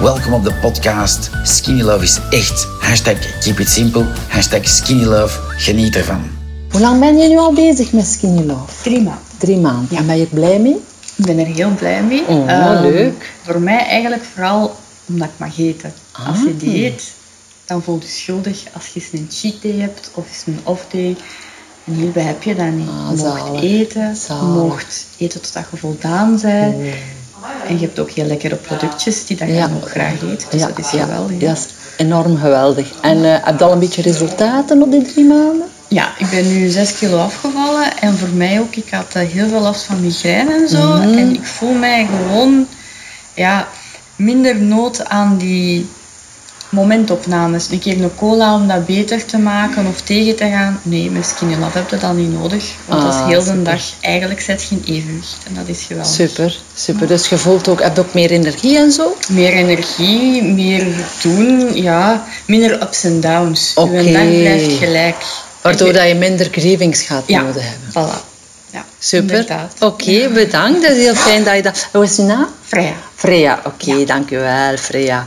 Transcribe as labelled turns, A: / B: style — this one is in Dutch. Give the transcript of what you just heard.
A: Welkom op de podcast. Skinny Love is echt. Hashtag keep it simple. Hashtag skinny love. Geniet ervan.
B: Hoe lang ben je nu al bezig met Skinny Love?
C: Drie maanden.
B: Drie maanden. En ben je er blij mee?
C: Ik ben er heel blij mee.
B: Oh,
C: Ehm,
B: leuk.
C: Voor mij eigenlijk vooral omdat ik mag eten.
B: Ah.
C: Als je dieet, dan voel je je schuldig als je eens een cheat day hebt of eens een off day. En hierbij heb je dat niet.
B: Ah,
C: je
B: zalig.
C: moogt eten,
B: Zalig. Oh.
C: je moogt eten totdat je voldaan bent. En je hebt ook heel lekkere productjes die dat je
B: Ja.
C: nog graag eet. Dus dat is geweldig.
B: Ja, dat is enorm geweldig. En eh, heb je al een beetje resultaten op die drie maanden?
C: Ja, ik ben nu 6 kilo afgevallen en voor mij ook, ik had eh, heel veel last van migraine en zo.
B: Mhm.
C: En ik voel mij gewoon ja, minder nood aan die momentopnames. Een keer een cola om dat beter te maken of tegen te gaan. Nee, met Skinny Lab heb je dat niet nodig. Want dat is
B: Ah,
C: heel
B: super.
C: de dag eigenlijk zet je in evenwicht. En dat is geweldig.
B: Super, super. Dus je voelt ook, heb je ook meer energie en zo?
C: Meer energie, meer doen, ja. Minder ups en downs. Je
B: Oké.
C: dag blijft gelijk.
B: Waardoor dat je minder cravings gaat
C: Ja,
B: nodig hebben.
C: voilà. Ja,
B: Super.
C: inderdaad. Oh,
B: Oké, bedankt. Dat is heel fijn dat je dat... Hoe is je naam?
C: Freya.
B: Freya. Oké, dankjewel Freya.